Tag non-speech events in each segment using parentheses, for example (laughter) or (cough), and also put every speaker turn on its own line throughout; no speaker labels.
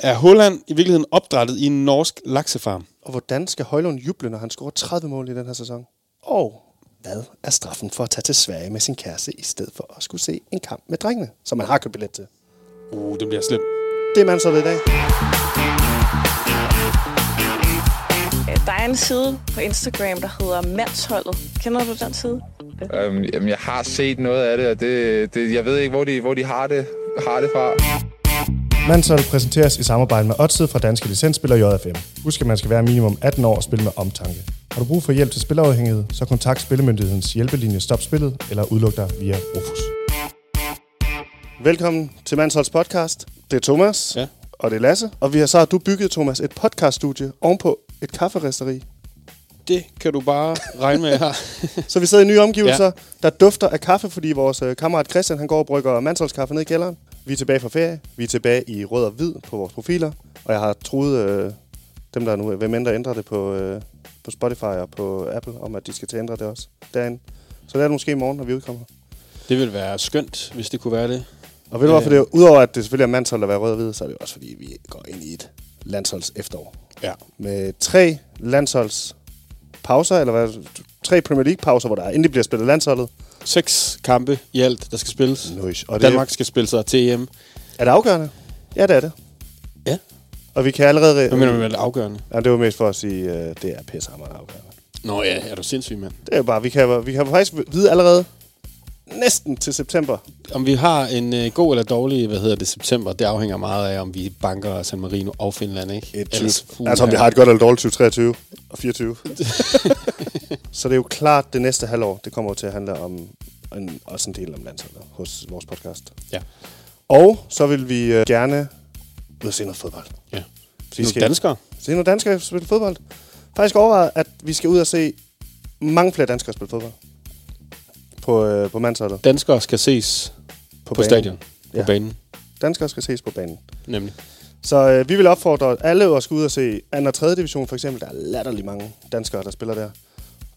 er Holland i virkeligheden opdrættet i en norsk laksefarm.
Og hvordan skal Højlund juble, når han scorer 30 mål i den her sæson? Og hvad er straffen for at tage til Sverige med sin kæreste, i stedet for at skulle se en kamp med drengene, som man har købt billet til?
Uh, det bliver slemt.
Det er man så ved i dag.
Øh, Der er en side på Instagram, der hedder Mandsholdet. Kender du den side?
Øhm, jamen, jeg har set noget af det, og det, det, jeg ved ikke, hvor de, hvor de har, det, har det fra.
Mansholdet præsenteres i samarbejde med Odset fra Danske Licensspiller JFM. Husk, at man skal være minimum 18 år og spille med omtanke. Har du brug for hjælp til spilafhængighed, så kontakt Spillemyndighedens hjælpelinje Stop Spillet eller udluk dig via Rufus.
Velkommen til Mansholds podcast. Det er Thomas,
Ja.
og det er Lasse. Og vi har så har du bygget, Thomas, et podcaststudie ovenpå et kafferisteri.
Det kan du bare regne (laughs) med her.
Så vi sidder i nye omgivelser, ja. der dufter af kaffe, fordi vores øh, kammerat Christian han går og brygger mandsholdskaffe ned i kælderen. Vi er tilbage fra ferie. Vi er tilbage i rød og hvid på vores profiler. Og jeg har troet øh, dem, der er nu, hvem end der ændrer det på, øh, på Spotify og på Apple, om at de skal til at ændre det også derinde. Så det er det måske i morgen, når vi udkommer.
Det ville være skønt, hvis det kunne være det.
Og ved du
Ja.
hvorfor det er? Udover at det selvfølgelig er mandshold at være rød og hvid, så er det jo også fordi, vi går ind i et landsholds efterår.
Ja.
Med tre landsholds pauser, eller hvad? Tre Premier League pauser, hvor der endelig bliver spillet landsholdet.
Seks kampe i alt, der skal spilles.
Nice. Og
Og
det-
Danmark skal spille sig til EM.
Er det afgørende? Ja, det er det.
Ja.
Og vi kan allerede...
Hvad mener du med det afgørende?
Nej, det var mest for at sige, øh, det er pissehammerende afgørende.
Nå ja, er du sindssyg, mand.
Det er jo bare, vi kan, vi kan faktisk vide allerede næsten til september.
Om vi har en øh, god eller dårlig, hvad hedder det, september, det afhænger meget af, om vi banker San Marino og Finland, ikke? puha.
altså, om vi har et godt eller dårligt 2023 og 24. (laughs) så det er jo klart, det næste halvår, det kommer jo til at handle om en, også en del om landsholdet hos vores podcast.
Ja.
Og så vil vi øh, gerne ud og se noget fodbold.
ja.
Fordi
Vi
skal-
skal... danskere.
Se nogle danskere spille fodbold. Faktisk overvejet, at vi skal ud og se mange flere danskere spille fodbold. På, øh, på mandsholdet.
Danskere skal ses på, på
banen.
stadion. På
Ja.
ja. banen,
Danskere skal ses på banen.
nemlig.
Så øh, vi vil opfordre alle at skulle ud og se 2. og 3. division for eksempel. Der er latterlig mange danskere, der spiller der.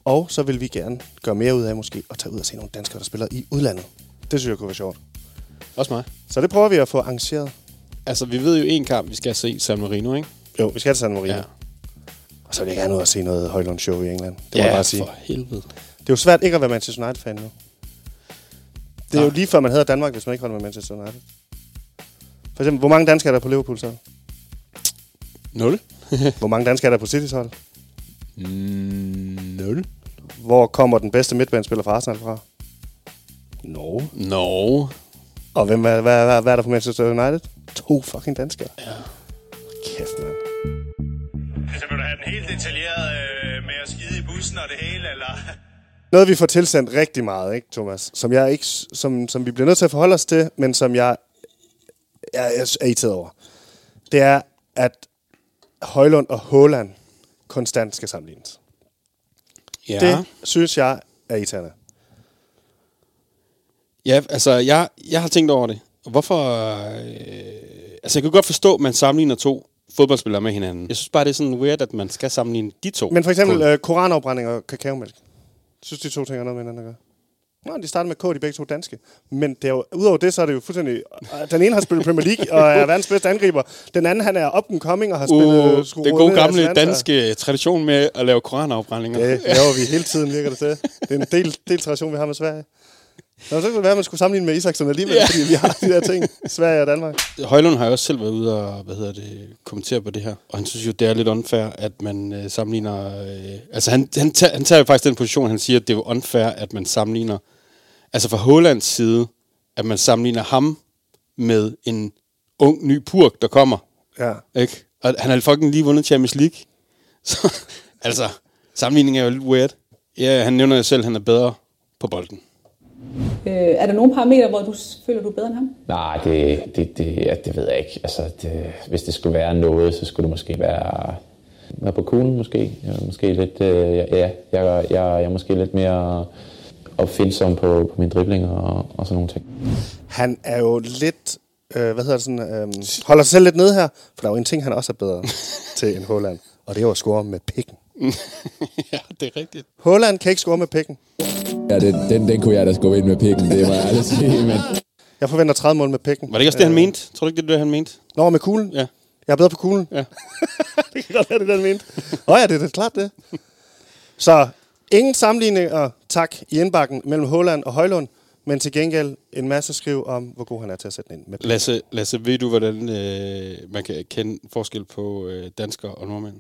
Og så vil vi gerne gøre mere ud af måske at tage ud og se nogle danskere, der spiller i udlandet. Det synes jeg kunne være sjovt.
Også mig.
Så det prøver vi at få arrangeret.
Altså, vi ved jo en kamp, vi skal se San Marino, ikke?
Jo, vi skal til San Marino. Ja. Og så vil jeg gerne ud og se noget Højlund Show i England. Det må
ja
jeg bare sige.
for helvede.
Det er jo svært ikke at være Manchester United-fan nu. Det er jo
Nej.
lige før, man havde Danmark, hvis man ikke holdt med Manchester United. For eksempel, hvor mange danskere er der på Liverpools hold?
Nul.
Hvor mange danskere er der på Citys hold?
Nul.
Hvor kommer den bedste midtbanespiller fra Arsenal fra? No.
Norge.
Og hvem er, hvad, hvad, hvad er der på Manchester United? To fucking danskere. Ja. Kæft, mand.
Altså, vil du have den helt detaljeret øh, med at skide i bussen og det hele, eller?
Noget, vi får tilsendt rigtig meget, ikke, Thomas? Som, jeg ikke, som, som vi bliver nødt til at forholde os til, men som jeg, jeg, jeg er irriteret over. Det er, at Højlund og Håland konstant skal sammenlignes.
Ja.
Ja. Det synes jeg er irriterende.
Ja, altså, jeg, jeg har tænkt over det. Hvorfor... Øh, altså, jeg kan godt forstå, at man sammenligner to fodboldspillere med hinanden. Jeg synes bare, det er sådan weird, at man skal sammenligne de to.
Men for eksempel
På-
øh, koranafbrænding og kakaomælk. Synes de to ting har noget med hinanden at gøre? Nå, de starter med K, de er begge to danske. Men det er jo, udover det, så er det jo fuldstændig... øh, Den ene har spillet Premier League og er verdens bedste angriber. Den anden, han er up and coming og har spillet...
Uh,
skruet
den
ned
gode
i
gamle
Atalanta.
danske tradition med at lave koranafbrændinger.
Det laver vi hele tiden, virker det til. Det er en del, del tradition, vi har med Sverige. Nå, så kunne det være, at man skulle sammenligne med Isaksen alligevel, ja. fordi vi har de der ting. Sverige og Danmark.
Højlund har jo også selv været ude og hvad hedder det, kommentere på det her. Og han synes jo, det er lidt unfair, at man øh, sammenligner... Øh, altså, han, han, tager, han tager jo faktisk den position, han siger, at det er jo unfair, at man sammenligner... Altså, fra Hollands side, at man sammenligner ham med en ung, ny purk, der kommer.
Ja.
Ikke? Og han har fucking lige vundet Champions League. (laughs) Så, altså, sammenligningen er jo lidt weird. Ja, han nævner jo selv, at han er bedre på bolden. (laughs)
Øh, er der nogle parametre, hvor du s- føler, du er bedre end ham?
Nej, det, det, det, ja, det ved jeg ikke. Altså, det, hvis det skulle være noget, så skulle det måske være, være på kuglen måske. Jeg er måske lidt, øh, ja, ja, jeg, jeg, jeg er måske lidt mere opfindsom på, på mine driblinger og, og sådan nogle ting.
Han er jo lidt... Øh, hvad hedder det sådan... Øh, holder sig selv lidt nede her, for der er jo en ting, han også er
(laughs)
bedre til end Holland. Og det er jo at score med pikken.
ja, det er rigtigt.
Holland kan ikke score med pikken.
Ja, den, den, den kunne jeg da skubbe ind med pikken, det må jeg aldrig sige, men...
Jeg forventer 30 mål med pikken.
Var det ikke også det, han mente? Tror du ikke, det er det, han mente?
Nå, med kuglen?
Ja.
Jeg er bedre på kuglen.
Ja.
(laughs) det kan godt være, det er den mente. Nå ja, det er da
(laughs)
klart det. Så ingen sammenligninger, tak, i indbakken mellem Holland og Højlund, men til gengæld en masse skriv om, hvor god han er til at sætte den ind. Med
Lasse, Lasse, ved du, hvordan øh, man kan kende forskel på øh, danskere og nordmænd?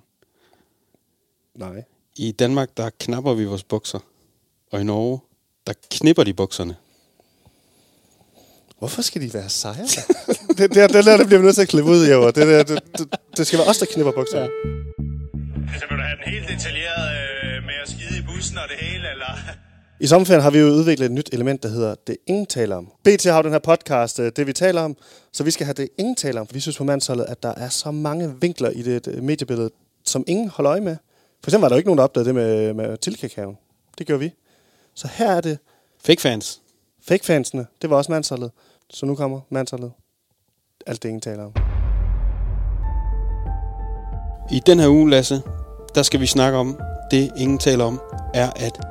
Nej.
I Danmark, der knapper vi vores bukser. Og i Norge, der knipper de bukserne.
Hvorfor skal de være sejre? (laughs) det, det, det, der, det bliver vi nødt til at klippe ud, Jæver. Det, det, det, det, det skal være os, der knipper bukserne. Ja.
Altså, vil du have den helt detaljeret øh, med at skide i bussen og det hele, eller?
I sommerferien har vi jo udviklet et nyt element, der hedder Det Ingen Taler Om. BT har jo den her podcast, øh, det vi taler om, så vi skal have Det Ingen Taler Om. For vi synes på mandsholdet, at der er så mange vinkler i det øh, mediebillede, som ingen holder øje med. For eksempel var der jo ikke nogen, der opdagede det med, med tilkakaven. Det gjorde vi. Så her er det
Fake fans.
fake-fansene. Det var også mandsholdet. Så nu kommer mandsholdet. Alt det, ingen taler om.
I den her uge, Lasse, der skal vi snakke om, det ingen taler om, er at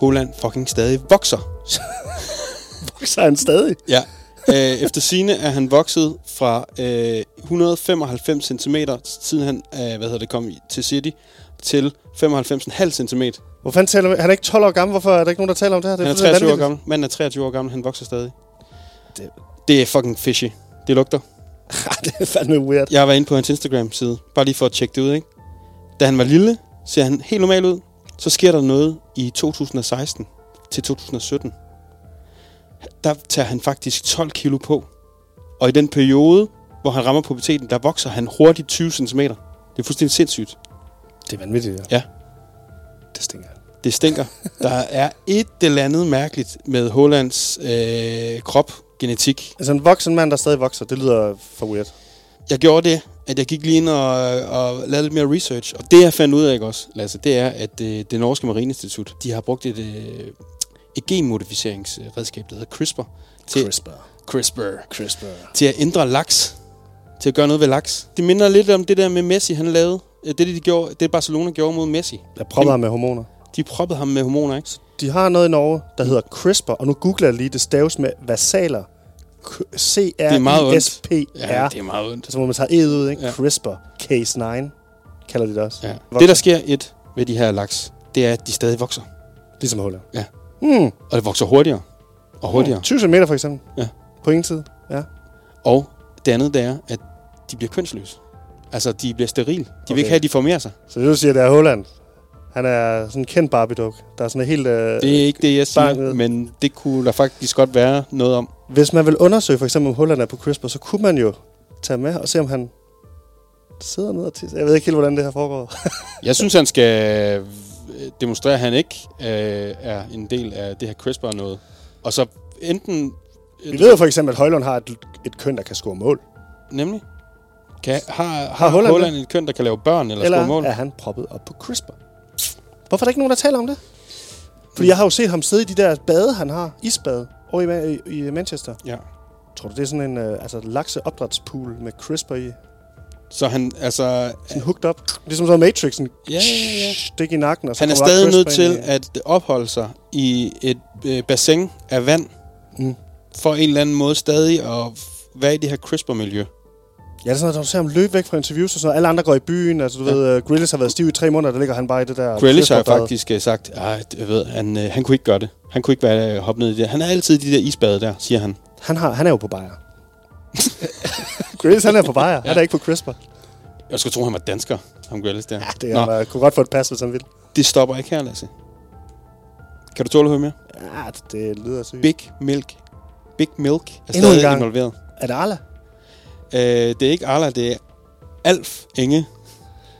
Holland fucking stadig vokser.
Vokser han stadig?
Ja. Øh, efter sine er han vokset fra øh, 195 cm, siden han øh, hvad hedder det, kom i- til City, til 95,5 cm.
Hvor fanden taler vi? Han er ikke 12 år gammel. Hvorfor er der ikke nogen, der taler om det her? Det
Han er
fuldstændig
23 år
vanvittigt.
gammel. Manden er 23 år gammel, han vokser stadig.
Det-
Det er fucking fishy. Det lugter.
(laughs) Ah, det er fandme weird.
Jeg var inde på hans Instagram-side, bare lige for at tjekke det ud, ikke? Da han var lille, ser han helt normal ud. Så sker der noget i 2016 til 2017. Der tager han faktisk 12 kilo på. Og i den periode, hvor han rammer puberteten, der vokser han hurtigt 20 cm. Det er fuldstændig sindssygt.
Det er vanvittigt,
Ja.
Det stinker.
Det stinker. Der er et eller andet mærkeligt med Hollands øh, krop, genetik,
Altså en voksen mand, der stadig vokser, det lyder for weird.
jeg gjorde det, at jeg gik lige ind og, og lavede lidt mere research. Og det, jeg fandt ud af, ikke også, Lasse, det er, at øh, det norske marineinstitut, de har brugt et, øh, et genmodificeringsredskab, der hedder CRISPR, til,
CRISPR.
CRISPR,
CRISPR.
til at ændre laks, til at gøre noget ved laks. Det minder lidt om det der med Messi, han lavede. Øh, Det, de gjorde, det Barcelona gjorde mod Messi.
Jeg propper ham med hormoner.
De proppede ham med hormoner, ikke?
De har noget i Norge, der hedder CRISPR, og nu googler jeg lige, det staves med versaler. K-
Det er meget ondt.
C-R-I-S-P-R.
Ja, det er meget ondt.
Så må man tage E'et ud, ikke?
Ja.
Ja. CRISPR. Case 9 kalder de det også.
Ja.
Vokser.
Det, der sker et ved de her laks, det er, at de stadig vokser.
Ligesom huller.
Ja.
Mm.
Og det vokser hurtigere og hurtigere.
20 cm for eksempel.
Ja.
På ingen tid. Ja.
Og det andet, det er, at de bliver kønsløse. Altså, de bliver sterile. De okay. vil
Okay.
ikke have, at de formerer sig.
Så det, du siger, det er Holland. Han er sådan en kendt Barbie-duk. Der er sådan en helt... Øh,
Det er ikke det, jeg siger,
Barnet.
men det kunne der faktisk godt være noget om.
Hvis man vil undersøge for eksempel, om Holland er på CRISPR, så kunne man jo tage med og se, om han sidder ned og tisser. Jeg ved ikke helt, hvordan det her foregår.
Jeg synes, han skal øh, demonstrere, at han ikke øh, er en del af det her CRISPR-noget. Og så enten... øh,
Vi ved jo for eksempel, at Højlund har et, et køn, der kan score mål.
Nemlig. Kan, har, har, har Holland,
Holland
Holland et køn, der kan lave børn eller, eller
Eller
score mål?
er han proppet op på CRISPR? Hvorfor er der ikke nogen, der taler om det? Fordi jeg har jo set ham sidde i de der bade, han har. Isbade. Over i, Ma- i, i Manchester.
Ja.
Tror du, det er sådan en øh, altså, lakseopdrætspool med CRISPR i?
Så han, altså,
Sådan hooked up. Ligesom sådan Matrix. Sådan,
Ja, ja, ja.
Stik i nakken. Og så
Han er
kommer bare
stadig nødt
CRISPR ind
til
i-
at opholde sig i et øh, bassin af vand, mm.
Mm.
for en eller anden måde stadig at f- være i det her CRISPR-miljø.
Ja, det er sådan noget, når du ser ham løbe væk fra interviews og sådan noget. Alle andre går i byen, altså du ja. ved, uh, Grealish har været stiv i tre måneder, der ligger han bare i det der...
Grealish har
Christopher-bad.
faktisk øh, sagt, at jeg ved, han, øh, han kunne ikke gøre det. Han kunne ikke være øh, hoppe ned i det. Han er altid i de der isbade der, siger han.
Han, har, han er jo på bajer. (laughs) Grealish, han er på bajer. Han er ikke på CRISPR.
Jeg skulle tro, han var dansker, ham Grealish der. Ja,
Det er, han, øh, kunne godt få et pas, hvis han vil.
det stopper ikke her, Lasse. Kan du tåle at høre mere?
Ja, det, det lyder sygt.
Big Milk. Big Milk er
en
stadig
gang.
involveret.
Er det Arla?
Øh, det er ikke Arla, det er Alf Inge.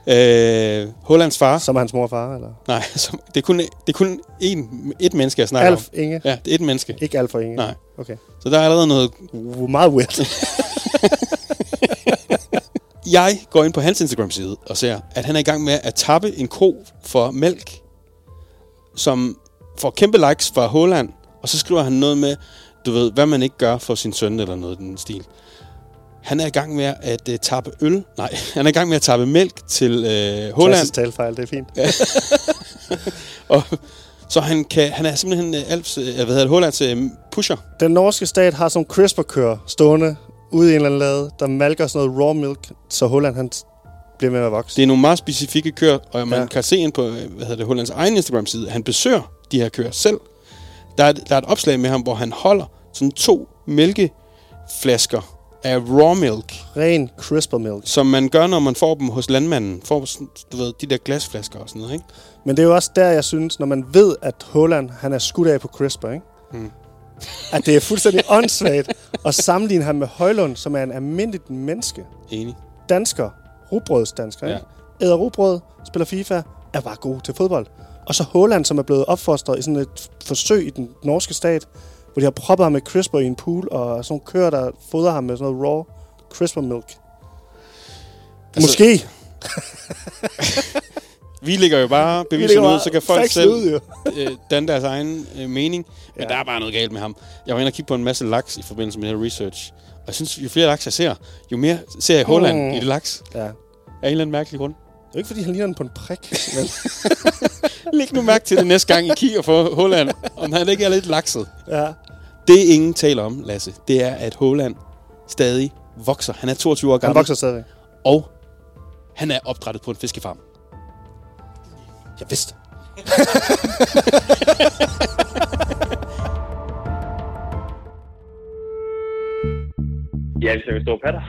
Øh, Hollands far.
Som er hans mor og far, eller?
Nej, (laughs) altså, det er kun, det er kun én, et menneske, jeg snakker
Alf
om.
Inge.
Ja, det er et menneske.
Ikke Alf og Inge.
Nej.
Okay.
Så der er allerede noget...
Uh, meget weird.
Jeg går ind på hans Instagram-side og ser, at han er i gang med at tappe en ko for mælk, som får kæmpe likes fra Holland, og så skriver han noget med, du ved, hvad man ikke gør for sin søn eller noget i den stil. Han er i gang med at uh, tappe øl. Nej, (laughs) han er i gang med at tappe mælk til uh, Holland.
Klassisk talfejl, det er fint.
Og, så han, kan, han er øh, simpelthen uh, Alps, uh, hvad hedder det, Hollands uh, øh, pusher.
Den norske stat har som CRISPR-kører stående ude i en eller anden lade, der malker sådan noget raw milk, så Holland han s- bliver med at vokse.
Det er nogle meget specifikke køer, og man
Ja.
ja. kan se ind på øh, hvad hedder det, Hollands egen Instagram-side, at han besøger de her køer selv. Der er, et- der er et opslag med ham, hvor han holder sådan to mælkeflasker af raw milk,
Ren crisper milk.
som man gør, når man får dem hos landmanden. Får sådan, du ved, de der glasflasker og sådan noget, ikke?
Men det er jo også der, jeg synes, når man ved, at Holland han er skudt af på crisper, ikke? Mm. at det er fuldstændig åndssvagt at sammenligne ham med Højlund, som er en almindelig menneske.
Enig.
Dansker, rugbrødsdansker, ja.
Ja.
ikke? Æder rugbrød, spiller FIFA, er bare god til fodbold. Og så Holland, som er blevet opfostret i sådan et forsøg i den norske stat, hvor de har proppet ham med crisper i en pool, og sådan nogle køer, der fodrer ham med sådan noget raw crisper milk. Altså, Måske.
Vi ligger jo bare
Vi
beviserne
lægger
ud,
bare
så kan folk
factsene
selv
ud, jo.
øh, danne deres egen øh, mening. Men
Ja.
ja. der er bare noget galt med ham. Jeg var inde og kigge på en masse laks i forbindelse med det her research. Og jeg synes, jo flere laks jeg ser, jo mere ser jeg Holland
Mm.
mm. i det laks.
Ja.
Af en eller anden mærkelig grund.
Det er jo ikke, fordi han ligner den på en prik.
(laughs)
Men,
Læg nu mærke til det næste gang, I kigger på Holland, om han ikke er lidt lakset.
ja.
Det ingen taler om, Lasse, det er, at Holland stadig vokser. Han er 22 år
Han
gammel,
vokser stadigvæk.
og han er opdrættet på en fiskefarm.
Jeg vidste.
Ja, hvis jeg vil stå patter.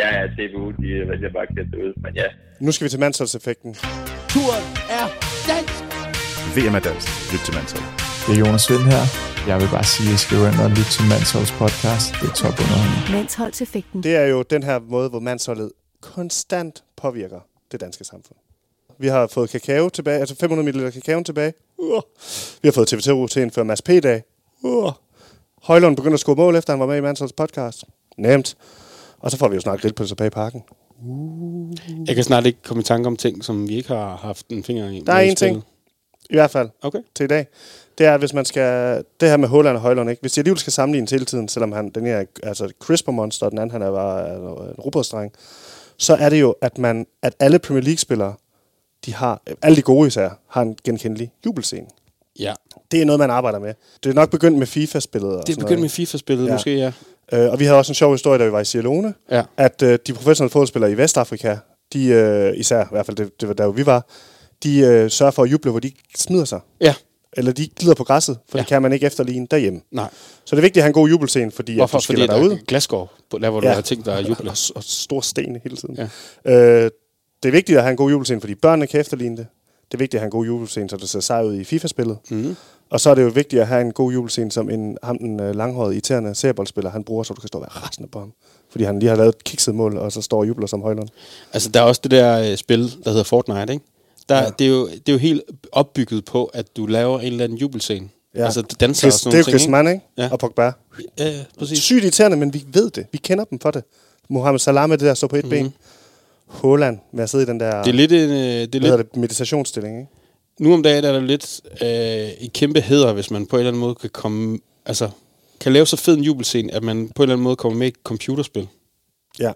Ja, ja, DBU, de vælger bare at kæde det ud, men ja.
Nu skal vi til mandsholdseffekten.
VM er dansk. Lyt til Mansell.
Det er Jonas Vind her. Jeg vil bare sige, at I skal gå ind og lytte til Mansholds podcast. Det er top underholdning.
Mandsholdseffekten.
Det er jo den her måde, hvor mandsholdet konstant påvirker det danske samfund. Vi har fået kakao tilbage, altså 500 ml kakao tilbage. Uh. Vi har fået TV2 til at indføre Mads P-dag. Uh. Højlund begynder at score mål, efter han var med i Mansholds podcast. Nemt. Og så får vi jo snart grillpølser bag i parken.
Jeg kan snart ikke komme i tanke om ting, som vi ikke har haft en finger i.
Der er
med i
en ting.
spillet.
I hvert fald.
Okay.
til i dag, det er, at hvis man skal... Det her med Holland og Højlund, ikke? Hvis de alligevel skal sammenligne hele tiden, selvom han, den her altså Crisper Monster, og den anden, han er bare altså, en robotsdreng, så er det jo, at, man, at alle Premier League-spillere, de har, alle de gode især, har en genkendelig jubelscene.
Ja.
Det er noget, man arbejder med. Det er nok begyndt med FIFA-spillet. og
Det
sådan
er
noget,
begyndt med FIFA-spillet,
Ja.
ja. måske, ja.
Øh, og vi havde også en sjov historie, da vi var i Sierra
Ja.
at øh, de professionelle fodboldspillere i Vestafrika, de øh, især, i hvert fald det, det var der, hvor vi var, de øh, sørger for at juble, hvor de ikke smider sig.
Ja.
Eller de ikke glider på græsset, for ja.
Ja.
det kan man ikke efterligne derhjemme.
Nej.
Så det er vigtigt at have en god jubelscene, fordi
Hvorfor?
at du
Fordi
skiller
der
dig ud.
er glasgård, på- der hvor du
Ja.
har ting, der er jubler.
Og, s- og store sten hele tiden.
Ja.
Øh, det er vigtigt at have en god jubelscene, fordi børnene kan efterligne det. Det er vigtigt at have en god jubelscene, så det ser sej ud i FIFA-spillet.
Mhm.
Og så er det jo vigtigt at have en god jubelscene, som en, ham, den øh, langhårede, irriterende serieboldspiller, han bruger, så du kan stå og være rasende på ham. Fordi han lige har lavet et kikset mål, og så står og jubler som højlund.
Altså, der er også det der øh, spil, der hedder Fortnite, ikke? Der,
Ja.
ja. det, er jo, det er jo helt opbygget på, at du laver en eller anden jubelscene. Ja. Altså, det danser
Chris,
og
Det er
sådan
jo
nogle ting,
Chris Mann, ikke? Ja.
Ja.
Og Pogba.
ikke? Ja, ja, præcis.
Sygt irriterende, men vi ved det. Vi kender dem for det. Mohamed Salah med det der, så på et mm-hmm. ben. Holland med at sidde i den der
Mhm. Det er lidt en... Øh, det er
hvad hedder
lidt,
det, meditationsstilling, ikke?
nu om dagen er der lidt øh, en kæmpe heder, hvis man på en eller anden måde kan komme... Altså, kan lave så fed en jubelscene, at man på en eller anden måde kommer med i et computerspil.
Ja.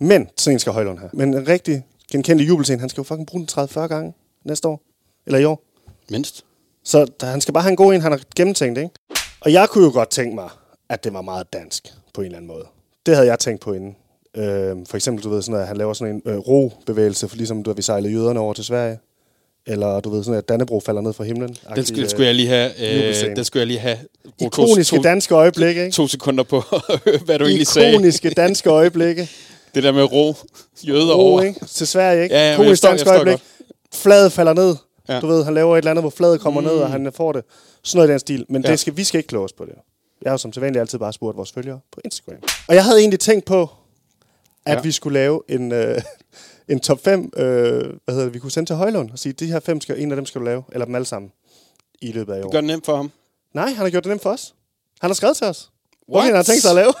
Men, sådan en skal Højlund have. Men en rigtig genkendelig jubelscene, han skal jo fucking bruge den 30-40 gange næste år. Eller i år.
Mindst.
Så der- han skal bare have en god en, han har gennemtænkt, ikke? Og jeg kunne jo godt tænke mig, at det var meget dansk på en eller anden måde. Det havde jeg tænkt på inden. Øh, for eksempel, du ved, sådan, at han laver sådan en øh, ro-bevægelse, for ligesom du ved, vi sejlede jøderne over til Sverige. Eller du ved, sådan at Dannebro falder ned fra himlen.
Den skulle, skulle jeg lige have...
øh, jubelscene.
Øh, den skulle jeg lige have... brugt to-
Ikoniske
to-
danske øjeblikke, ikke?
To sekunder på, (laughs) hvad du egentlig sagde.
Ikoniske danske øjeblikke.
Det der med ro, jøder
Ro,
over.
ikke? Til Sverige, ikke?
Ja, ja, men
Komisk
jeg forstår-
dansk
jeg forstår
øjeblik. Fladet falder ned. Ja.
Ja.
Du ved, han laver et eller andet, hvor fladet kommer mm. ned, og han får det. Sådan noget i den stil. Men ja.
Ja.
det skal, vi skal ikke kloge os på det. Jeg har jo som sædvanligt altid bare spurgt vores følgere på Instagram. Og jeg havde egentlig tænkt på, at ja.
Ja.
vi skulle lave en, øh, en top 5, øh, hvad hedder det, vi kunne sende til Højlund og sige, de her fem, skal, en af dem skal du lave, eller dem alle sammen, i løbet af i år.
Det gør det nemt for ham.
Nej, han har gjort det nemt for os. Han har skrevet til os. What?
What?
han har tænkt sig at lave. (laughs)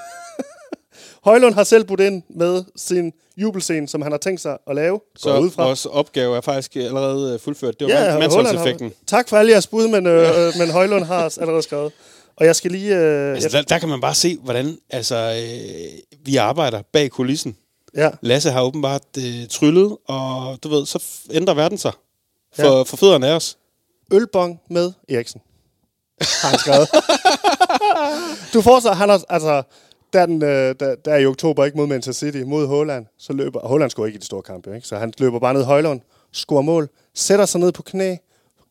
Højlund har selv budt ind med sin jubelscene, som han har tænkt sig at lave. Så
Så
ud fra.
vores opgave er faktisk allerede øh, fuldført. Det var ja, mandsholdseffekten.
Har, tak for alle jeres bud, men, øh, øh, men Højlund har os allerede skrevet. Og jeg skal lige... Øh,
Altså, der, der kan man bare se, hvordan altså, øh, vi arbejder bag kulissen.
ja,
Lasse har åbenbart øh, tryllet, og du ved, så f- ændrer verden sig. For, ja. for fødderne af os.
ølbong med (laughs) Eriksen. Har han skrevet. du får så, han har, altså, der, er den, øh, der, der er i oktober ikke mod Manchester City, mod Holland, så løber... Og Holland scorer ikke i de store kampe, ikke? Så han løber bare ned i højlån, scorer mål, sætter sig ned på knæ.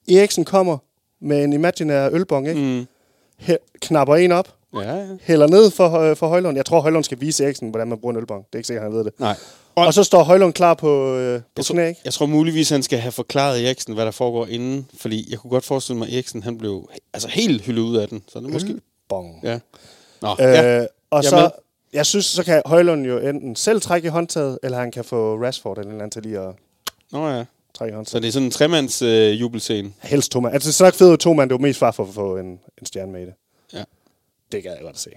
Eriksen kommer med en imaginær ølbong, ikke? Mm. He, knapper en op,
Ja, ja.
hælder ned for, øh, for Højlund. Jeg tror, Højlund skal vise Eriksen, hvordan man bruger en ølbong. Det er ikke sikkert, han ved det.
Nej.
Og, og så står Højlund klar på, øh, på
Jeg
knæ,
tror,
ikke?
jeg tror muligvis, han skal have forklaret Eriksen, hvad der foregår inden. Fordi jeg kunne godt forestille mig, at Eriksen han blev he- altså, helt hyldet ud af den. Så det er måske...
Ølbong.
Ja. Nå, øh,
Ja.
ja.
Mm. Øh, og
Jeg er
så,
med.
jeg synes, så kan Højlund jo enten selv trække i håndtaget, eller han kan få Rashford eller en eller anden til lige at
Nå ja.
trække i
Så
håndtaget.
det er sådan en tremands øh, jubelscene.
Helst to mand. Altså, så er det fedt to mand, det er jo mest far for at få en, en stjerne med i det.
Ja.
Det gad jeg godt at se.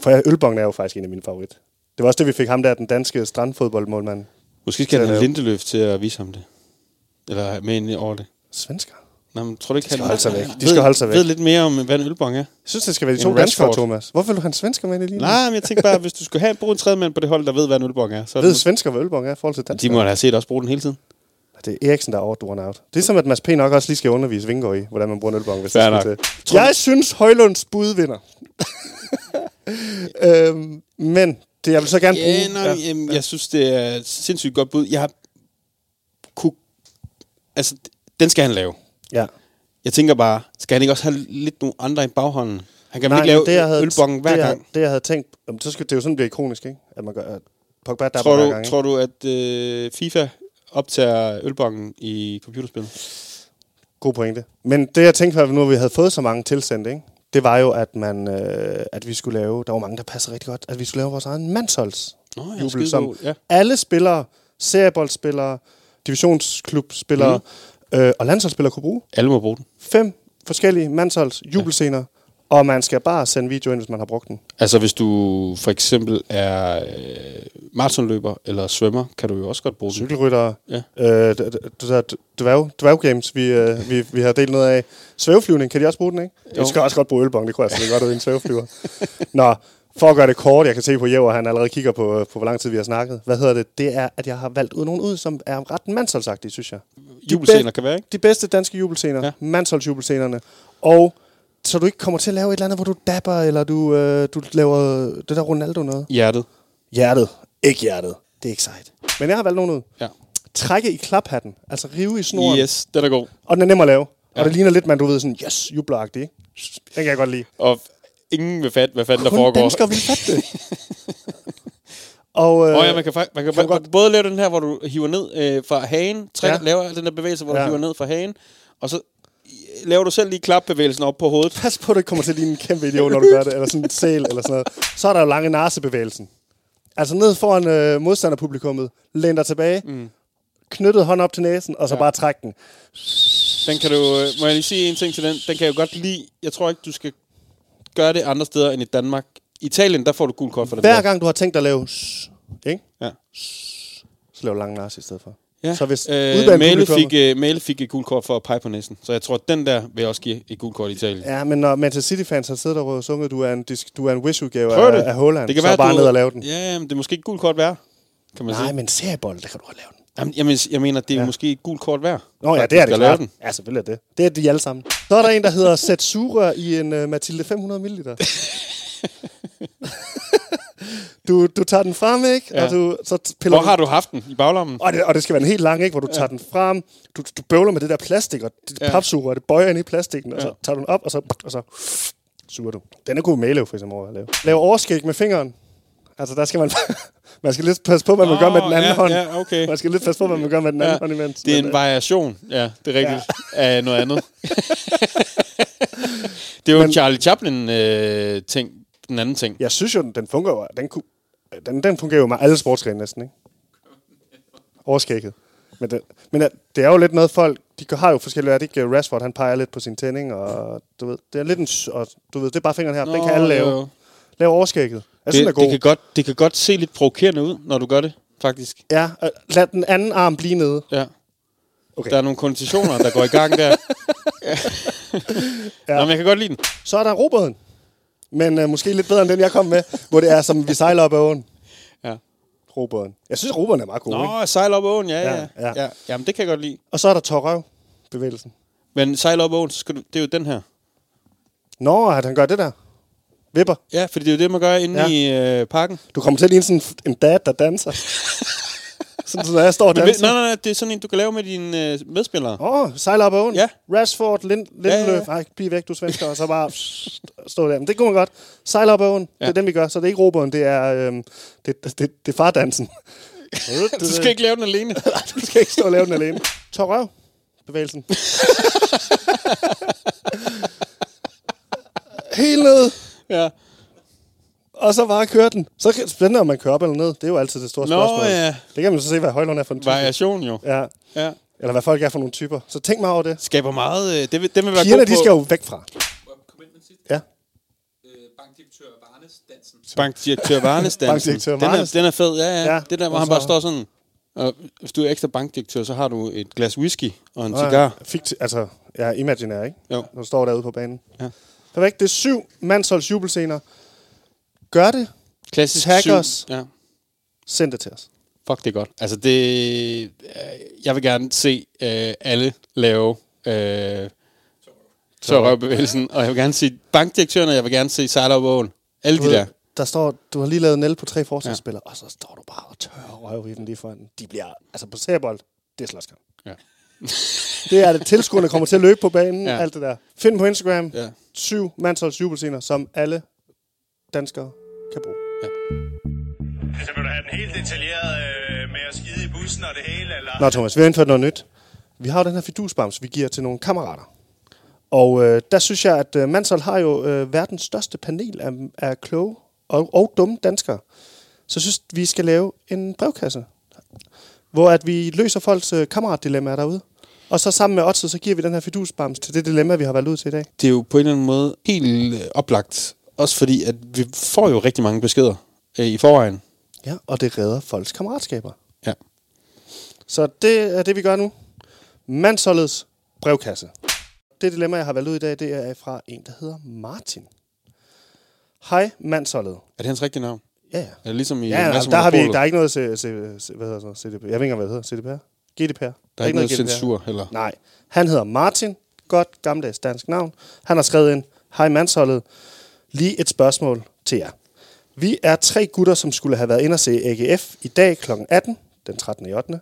For jeg- ølbongen er jo faktisk en af mine favorit. Det var også det, vi fik ham der, den danske strandfodboldmålmand.
Måske skal
Så
han have
lave-
Lindeløf til at vise ham det. Eller med ind over det.
Svensker.
Nå, men tror du ikke,
De skal
han
holde sig væk.
ved-
De skal holde sig væk.
Ved lidt mere om, hvad en ølbong er.
Jeg synes, det skal være de
En
to danskere,
Rashford.
Thomas. Hvorfor vil du have en svensker med i det lige nu?
Nej, men jeg tænkte bare, hvis du skulle have bruge en tredje mand på det hold, der ved, hvad en ølbong er, så er
Ved
det,
svensker, hvad ølbong er i forhold til
de
danskere?
må da have set også bruge den hele tiden.
Det er Eriksen, der er over the one out. Det er som, at Mads P. nok også lige skal undervise Vingård i, hvordan man bruger en ølbong, hvis
Fair
det skal
nok.
til. Jeg synes, Højlunds bud vinder. (laughs) øhm, men det, jeg vil så gerne
Ja,
bruge...
nej, ja, jamen, jeg synes, det er et sindssygt godt bud. Jeg har kunne... Altså, den skal han lave.
ja.
Jeg tænker bare, skal han ikke også have lidt nogle andre i baghånden? Han kan vel
Nej,
ikke lave
det, jeg havde,
ølbongen hver
det,
gang?
jeg, Det, jeg havde tænkt... Jamen, så skal, det er jo sådan, det bliver ikonisk, ikke? At man gør... At Pogba der
tror,
hver
du,
gang, ikke?
tror du, at øh, FIFA optager ølbongen i computerspillet?
God pointe. Men det, jeg tænkte, nu vi havde fået så mange tilsendt, ikke? det var jo, at, man, øh, at vi skulle lave... Der var mange, der passer rigtig godt. At vi skulle lave vores egen mandsholds
Nå, ja,
jubel,
skidegod,
som
ja.
alle spillere, serieboldspillere, divisionsklubspillere mm. øh, og landsholdsspillere kunne bruge.
Alle må bruge den.
Fem forskellige mandsholds jubelscener, ja. og man skal bare sende video ind, hvis man har brugt den.
Altså, hvis du for eksempel er øh, maratonløber eller svømmer, kan du jo også godt bruge den.
Cykelryttere,
Ja.
øh, d- d- d- d- dværg, dværggames, vi, øh, vi, vi har delt noget af. Svæveflyvning, kan de også bruge den, ikke?
Jo.
Du skal også godt bruge ølbong, det kunne jeg selvfølgelig godt ud i en svæveflyver. Nå, for at gøre det kort, jeg kan se på Jæver, han allerede kigger på, øh, på, hvor lang tid vi har snakket. Hvad hedder det? Det er, at jeg har valgt ud nogen ud, som er ret mandsholdsagtige, synes jeg.
Jubelscener kan være, ikke?
de bedste danske jubelscener, ja.
Ja.
mandsholdsjubelscenerne, og så du ikke kommer til at lave et eller andet, hvor du dapper, eller du, øh, du laver det der Ronaldo noget.
Hjertet.
Hjertet. Ikke hjertet. Det er ikke sejt. Men jeg har valgt nogen ud.
Ja.
Trække i klaphatten. Altså rive i snoren. Yes.
Yes, den er god.
Og den er nem at lave. Ja.
Ja.
Og det ligner lidt, man du ved sådan, yes, jubleragtig. ikke? Den kan jeg godt lide.
Og ingen vil fatte, hvad fanden der
Kun
foregår.
danskere vil
(laughs)
fatte det. og, øh,
Åh, ja, man kan, fakt- man kan, man kan
godt-
godt... både lave den her, hvor du hiver ned øh, fra hagen, trækker,
Ja.
ja. laver den der bevægelse, hvor
Ja.
du hiver ned fra hagen, og så øh, laver du selv lige klapbevægelsen op på hovedet.
pas på, at du ikke kommer til at ligne en kæmpe idiot, når du gør det, eller sådan en sæl, eller sådan noget. Så er der jo lange narsebevægelsen. Altså ned foran øh, modstanderpublikummet, læn dig tilbage, mm. knyttet hånd op til næsen, og så ja. bare træk den.
Den kan du, øh, må jeg lige sige en ting til den? Den kan jeg jo godt lide. Jeg tror ikke, du skal gøre det andre steder end i Danmark. I Italien, der får du gul kort for den
Hver
der.
gang du har tænkt dig at lave s- ikke?
Ja.
så lav lange narse i stedet for.
Ja.
Så hvis udbanepublikummet-
øh, Male fik, øh, Male fik et gul kort for at pege på næsen. Så jeg tror, at den der vil jeg også give et gul kort i Italien. Ja.
Ja, men når Manchester City-fans har siddet og sunget, du er en, disk, du er en wish-udgave
Prøv det.
af, af Holland,
det kan
så
være,
bare
du,
ned og lave den.
Ja, men det er måske ikke gul kort værd, kan man
Nej,
sige.
men seriebold, der kan du godt lave den.
Jamen, jeg, men, jeg mener, det er ja. måske et gul kort værd.
Nå ja,
at
det er
du
det
skal lave
klart. Ja, selvfølgelig er det. Det er de alle sammen. Så er der en, der
(laughs)
hedder Setsura i en uh, Mathilde 500 ml. du, du tager den frem, ikke? Ja.
Ja.
Og du, så t- piller
Hvor har du haft den? I baglommen?
Og det, og det skal være en helt lang, ikke? Hvor du ja. tager den frem, du, du bøvler med det der plastik, og det ja.
Ja.
papsuger, og det bøjer ind i plastikken, og så
Ja.
tager du den op, og så, og så suger du. Den er god Mælev for eksempel over at lave. Lave overskæg med fingeren. Altså, der skal man... (laughs) man skal lidt passe på, hvad man oh, gør med den anden
ja,
hånd.
ja, okay.
Man skal lidt passe på, hvad man gør med den anden
Ja,
hånd imens.
Det er
Men,
en
øh,
variation, ja, det er rigtigt, ja. (laughs) af noget
(laughs)
andet. det er jo en Charlie Chaplin-ting, den anden ting.
Jeg synes jo, den, den fungerer jo. Den, kunne, den, den fungerer jo med alle sportsgrene næsten, ikke? Overskægget. Men, det, men øh, det er jo lidt noget folk, de gør- har jo forskellige, er det ikke øh, Rashford, han peger lidt på sin tænding, og du ved, det er lidt en, s- og, du ved, det er bare fingeren her, Nå, den kan alle lave.
jo.
Lave overskægget. Jeg synes, den er
Det,
god.
det, kan godt, det kan godt se lidt provokerende ud, når du gør det, faktisk.
Ja, og lad den anden arm blive nede.
Ja.
Okay.
Okay. Der er nogle konditioner, der går i gang
(laughs)
der. ja. Nå, men jeg kan godt lide den.
Så er der roboden. Men øh, måske lidt bedre end den, jeg kom med, hvor det er, som vi sejler op ad åen.
Ja.
Roboden. Jeg synes, roboden er meget god, ikke?
Nå, sejl op åen, ja, ja,
Ja,
ja.
ja.
ja. Jamen, det kan jeg godt lide.
Og så er der tårrøv bevægelsen.
Men sejl op åen, så skal du, det er jo den her.
Nå, at han gør det der. Vipper.
Ja, fordi det er jo det, man gør inde ja. i øh, parken.
Du kommer til at ligne sådan en dad,
(laughs)
der danser. sådan, så når jeg står og
Men, ved-
danser.
nej, nej, nej, det er sådan en, du kan lave med dine øh, medspillere.
Åh, oh, sejler op ad åen.
Ja.
Rashford, Lind, Lindeløf. Ja,
Ja,
ja,
ja,
ja. Ej, bliv væk, du svensker. Og så bare stå der. Men det kunne man godt. Sejler op ad åen. Ja. Det er den, vi gør. Så det er ikke roboen, det er, øhm, det, det, det, det er fardansen. (laughs)
Du skal ikke lave den alene.
du skal ikke stå og lave den alene. Tør røv.
(laughs)
Bevægelsen. Helt ned.
ja.
Og så bare køre den. Så kan- spændende, om man kører op eller ned. Det er jo altid det store
Nå,
spørgsmål.
ja.
Det kan man så se, hvad Højlund er for en type.
Variation jo.
Ja.
Ja.
Eller hvad folk er for nogle typer. Så tænk mig over det.
Skaber meget... Øh, det, vil, det vil være
Pigerne,
god
de skal jo væk fra. Ja.
Bankdirektør Varnes
Bankdirektør
den, er,
Varnes.
den er fed, ja, ja.
Ja,
ja. Det der, hvor
og
han
så-
bare står sådan... Og hvis du er ekstra bankdirektør, så har du et glas whisky og en
Og
cigar.
Fikti- altså, ja, imaginær, ikke?
Jo.
Når du står derude på banen.
Ja.
Perfekt. Det er syv mandsholds jubelscener. Gør det.
Klassisk
Tag
syv-
os.
Ja.
Send det til os.
Fuck, det er godt. Altså, det... øh, Jeg vil gerne se øh, alle lave... Øh, Tørrøvbevægelsen. Og jeg vil gerne se bankdirektøren, og jeg vil gerne se Sejler Vågen. Alle de
ved,
der.
Der står, du har lige lavet Nel på tre forsvarsspillere, ja. og så står du bare og tørrer røv i den lige foran. De bliver, altså på serbold, det er slåskamp.
Ja.
(laughs) Det er det, tilskuerne kommer til at løbe på banen, ja.
Ja.
alt det der. Find på Instagram, ja.
Ja.
syv mandsholds jubelscener, som alle danskere kan bruge.
Så Altså, vil du have den helt detaljeret øh, med at skide i bussen og det hele, eller?
Nå, Thomas, vi har indført noget nyt. Vi har jo den her fidusbams, vi giver til nogle kammerater. Og øh, der synes jeg, at øh, Mansol har jo øh, verdens største panel af, af kloge og, og dumme danskere. Så jeg synes, vi skal lave en brevkasse, hvor at vi løser folks øh, kammeratdilemmaer derude. Og så sammen med Otze, så giver vi den her fidusbams til det dilemma, vi har valgt ud til i dag.
det er jo på en eller anden måde helt øh, oplagt. Også fordi, at vi får jo rigtig mange beskeder øh, i forvejen.
Ja, og det redder folks kammeratskaber.
Ja.
Så det er det, vi gør nu. Mandsholdets brevkasse. Det dilemma, jeg har valgt ud i dag, det er fra en, der hedder Martin. Hej, mandsholdet.
Er det hans rigtige navn?
Ja, ja.
Er det ligesom i
Ja, ja
Mads
der, har vi ikke,
Monopolet?
der er ikke noget C, C, C, hvad hedder så, CDP. Jeg ved ikke engang, hvad det hedder. CDPR? GDPR. Der er,
der er ikke noget
GDPR.
censur heller.
Nej. Han hedder Martin. Godt gammeldags dansk navn. Han har skrevet ind, hej mandsholdet, lige et spørgsmål til jer. Vi er tre gutter, som skulle have været inde og se AGF i dag kl. 18, den 13. i 8.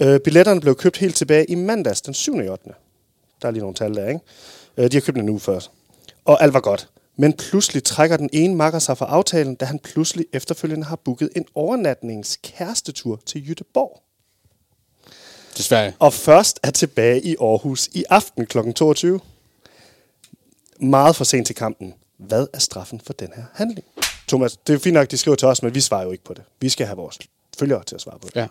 Øh, billetterne blev købt helt tilbage i mandags, den 7. i 8. Der er lige nogle tal der, ikke? Øh, de har købt den en uge før. Og alt var godt. Men pludselig trækker den ene makker sig fra aftalen, da han pludselig efterfølgende har booket en overnatningskærestetur til Jødeborg
Desværre.
og først er tilbage i Aarhus i aften kl. 22. Meget for sent til kampen. Hvad er straffen for den her handling? Thomas, det er fint nok, de skriver til os, men vi svarer jo ikke på det. Vi skal have vores følgere til at svare på det.
Ja.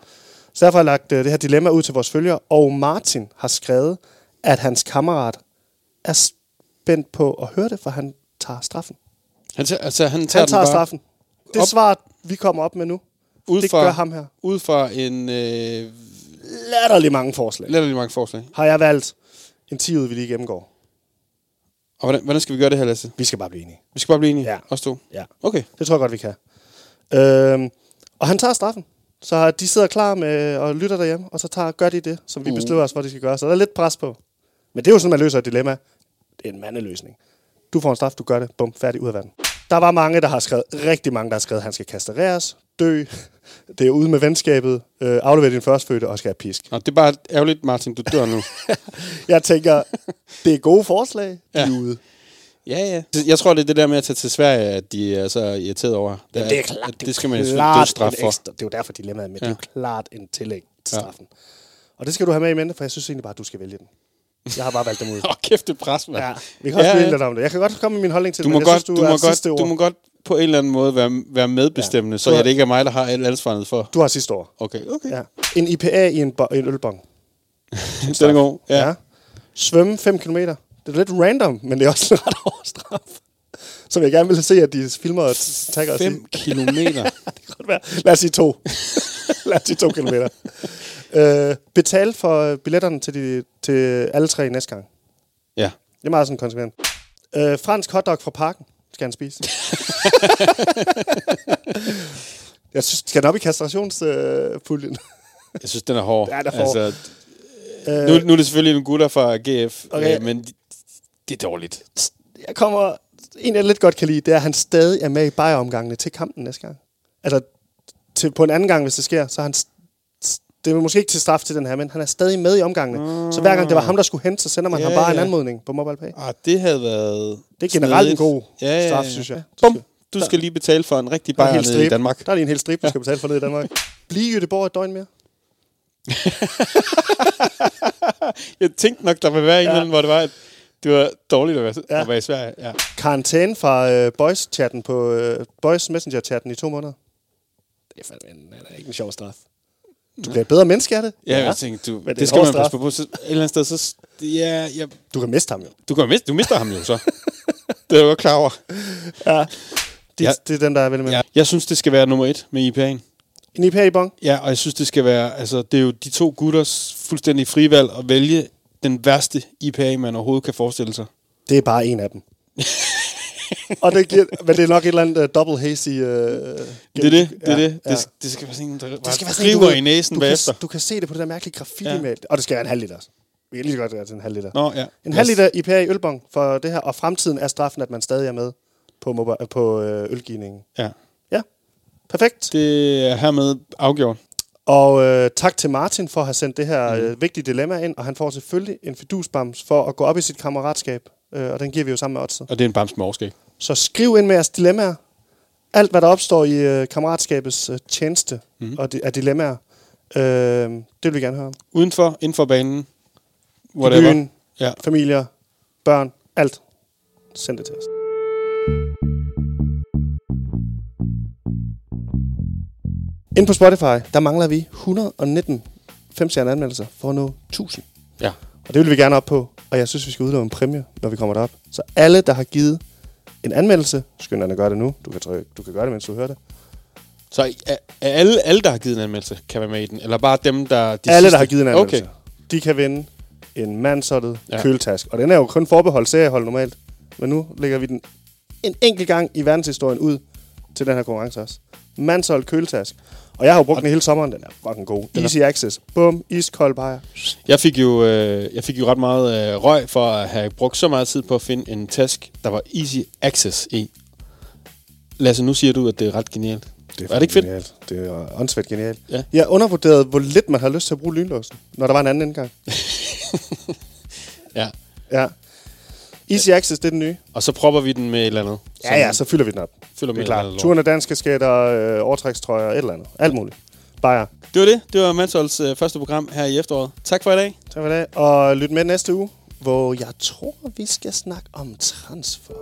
Så derfor har jeg lagt øh, det her dilemma ud til vores følgere, og Martin har skrevet, at hans kammerat er spændt på at høre det, for han tager straffen.
Han, tager, altså, han tager,
Han tager
den bare
straffen. Det
op.
svar, vi kommer op med nu,
Ud
det
fra,
gør ham her.
Ud fra en... Øh,
latterlig mange forslag.
lidt mange forslag.
Har jeg valgt en 10 vi lige gennemgår.
Og hvordan, hvordan skal vi gøre det her, Lasse?
Vi skal bare blive enige.
Vi skal bare blive enige.
Ja.
Os to.
Ja.
Okay.
Det tror jeg godt, vi kan. Øhm, og han tager straffen. Så de sidder klar med og lytter derhjemme, og så tager, gør de det, som vi beskriver os, hvor de skal gøre. Så der er lidt pres på. Men det er jo sådan, man løser et dilemma. Det er en mandeløsning. Du får en straf, du gør det. Bum, færdig ud af vandet. Der var mange, der har skrevet, rigtig mange, der har skrevet, at han skal kastreres, dø, det er ude med venskabet, øh, aflevere din førstfødte og skal have pisk.
Nå, det er bare ærgerligt, Martin, du dør
(laughs)
nu.
Jeg tænker, det er gode forslag, ja. de er ude.
ja, ja. Jeg tror, det er det der med at tage til Sverige, at de er så irriteret over. Det,
Det er klart,
at det skal man jo selvfølgelig
klart
dødsstraf
en
for.
Ekstra, det er jo derfor, dilemmaet er med. Ja. Det er jo klart en tillæg til
Ja.
straffen. Og det skal du have med i mente, for jeg synes egentlig bare, at du skal vælge den. Jeg har bare valgt
(laughs)
dem ud.
Åh, kæft, det er pres, mand.
ja, vi kan også ja, ja. lidt om det. Jeg kan godt komme med min holdning til
Du
det,
må,
men jeg
godt,
synes, du,
du,
er
må godt,
sidste ord.
du må godt på en eller anden måde være, være medbestemmende, ja.
Ja.
så
Du er-
ja, det ikke er mig, der har alt ansvaret for.
du har sidste ord.
Okay, okay. Ja.
Ja. En IPA i en, bo- en ølbong.
(laughs) Den er god. Ja. ja.
Svømme 5 km. Det er lidt random, men det er også (laughs) en ret hård straf. Som jeg gerne ville se, at de filmer og tagger os i.
5
(laughs)
kilometer.
Det kan godt være. Lad os sige to. (laughs) Lad os sige to kilometer. øh, betal for øh, billetterne til, de, til alle tre næste gang.
ja.
Det er meget sådan konsekvent. Øh, fransk hotdog fra parken skal han spise. Jeg synes, skal den op i kastrationspuljen? Øh, puljen?
Jeg synes, den er hård. Altså,
Ja, den er hård. Øh,
nu, nu er det selvfølgelig nogle gutter fra GF,
Okay.
okay. øh, men de- det er dårligt.
jeg kommer... En, jeg lidt godt kan lide, det er, at han stadig er med i bajeromgangene til kampen næste gang. Altså, til, på en anden gang, hvis det sker, så er han... s- s- Det er måske ikke til straf til den her, men han er stadig med i omgangene. Mm. Så hver gang det var ham, der skulle hente, så sender man
Ja,
ham bare en
ja.
anmodning på MobilePay.
Ah, det havde været...
Det er generelt en
snedigt.
god straf, synes jeg.
Bum! Du skal lige betale for en rigtig
Der er en
bajer
hel
nede i
stribe.
Danmark.
Der er lige en hel strip, du skal betale for ned i Danmark. Bliv i Göteborg et døgn mere.
Jeg tænkte nok, der ville være en ja. hvor det var, at det var dårligt at være, ja. at være i Sverige. Ja.
Karantæne fra øh, Boys-chatten på øh, Boys Messenger-chatten i to måneder. Det er fandme en, det er ikke en sjov straf. Du bliver et bedre menneske af det.
Ja, jeg tænkte, du,
men det er
det,
en
det skal
hård
man
straf.
passe på. på. Så, et eller andet sted, så... Ja, ja,
Du kan miste ham jo.
du, kan miste, du mister ham jo så. (laughs) det er jeg godt klar over.
Det, ja.
Ja.
det er den, der er vel med. Ja.
Ja. Jeg synes, det skal være nummer et med IPA'en.
En IPA i bong.
Ja, og jeg synes, det skal være... Altså, det er jo de to gutters fuldstændig frivalg at vælge den værste IPA, man overhovedet kan forestille sig.
Det er bare en af dem. og det giver, men det er nok et eller andet uh, double hazy... Uh,
Det er det, det er det. Det, det skal være sådan en, der det skal river i næsen
du kan,
bagefter.
du kan se det på det der mærkelige graffiti ja.
Ja.
med. Og det skal være en halv liter. Vi kan lige så godt gøre det til en halv liter.
Nå, ja.
En halv liter IPA i ølbong for det her, og fremtiden er straffen, at man stadig er med på, mobi- på øh, ølgivningen.
Ja.
Ja, perfekt.
Det er hermed afgjort.
Og øh, tak til Martin for at have sendt det her øh, vigtige dilemma ind, og han får selvfølgelig en fidusbams for at gå op i sit kammeratskab, øh, og den giver vi jo sammen med Otse.
Og det er en bams med overskæg.
Så skriv ind med jeres dilemmaer. Alt, hvad der opstår i øh, kammeratskabets øh, tjeneste mm. og di- af dilemmaer, øh, det vil vi gerne høre om.
Udenfor, inden for banen.
Whatever.
Whatever.
Byen,
Ja.
familier, børn, alt. Send det til os. Ind på Spotify, der mangler vi 119 femstjerne anmeldelser for at nå 1000.
Ja.
Og det vil vi gerne op på, og jeg synes, vi skal udlåne en præmie, når vi kommer derop. Så alle, der har givet en anmeldelse, skynd dig at gøre det nu. Du kan, trykke, du kan gøre det, mens du hører det.
Så er er alle, alle, der har givet en anmeldelse, kan være med i den? Eller bare dem, der... De
alle,
sidste?
der har givet en anmeldelse,
Okay.
okay. de kan vinde en mandsottet ja.
Ja.
køletask. Og den er jo kun forbeholdt seriehold normalt. Men nu lægger vi den en enkelt gang i verdenshistorien ud til den her konkurrence også. Mandsholdt køletask. Og jeg har jo brugt den hele sommeren. Den er fucking god. Easy access. Bum, iskold bajer.
Jeg fik jo, øh, jeg fik jo ret meget øh, røg for at have brugt så meget tid på at finde en task, der var easy access i. Lasse, nu siger du, at det er ret genialt. er det ikke fedt?
Genialt. Det er åndssvagt genialt. Ja.
Ja.
Jeg undervurderede, hvor lidt man har lyst til at bruge lynlåsen, når der var en anden indgang.
Ja.
Ja. Easy access, det er den nye.
Og så propper vi den med et eller andet.
Ja, ja, så fylder vi den op.
Fylder med et
Det er
eller
klart.
andet
Turen af danske skater, øh, overtrækstrøjer, et eller andet. Alt muligt. Bajer.
Det var det. Det var Mansholds øh, første program her i efteråret. Tak for i dag.
Tak for det. Og lyt med næste uge, hvor jeg tror, vi skal snakke om transfer.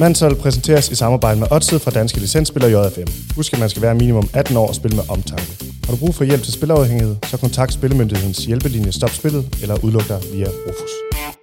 Mansol præsenteres i samarbejde med Odset fra danske licensspiller JFM. Husk, at man skal være minimum 18 år og spille med omtanke. Har du brug for hjælp til spilafhængighed, så kontakt Spillemyndighedens hjælpelinje Stop Spillet eller udluk dig via Rufus.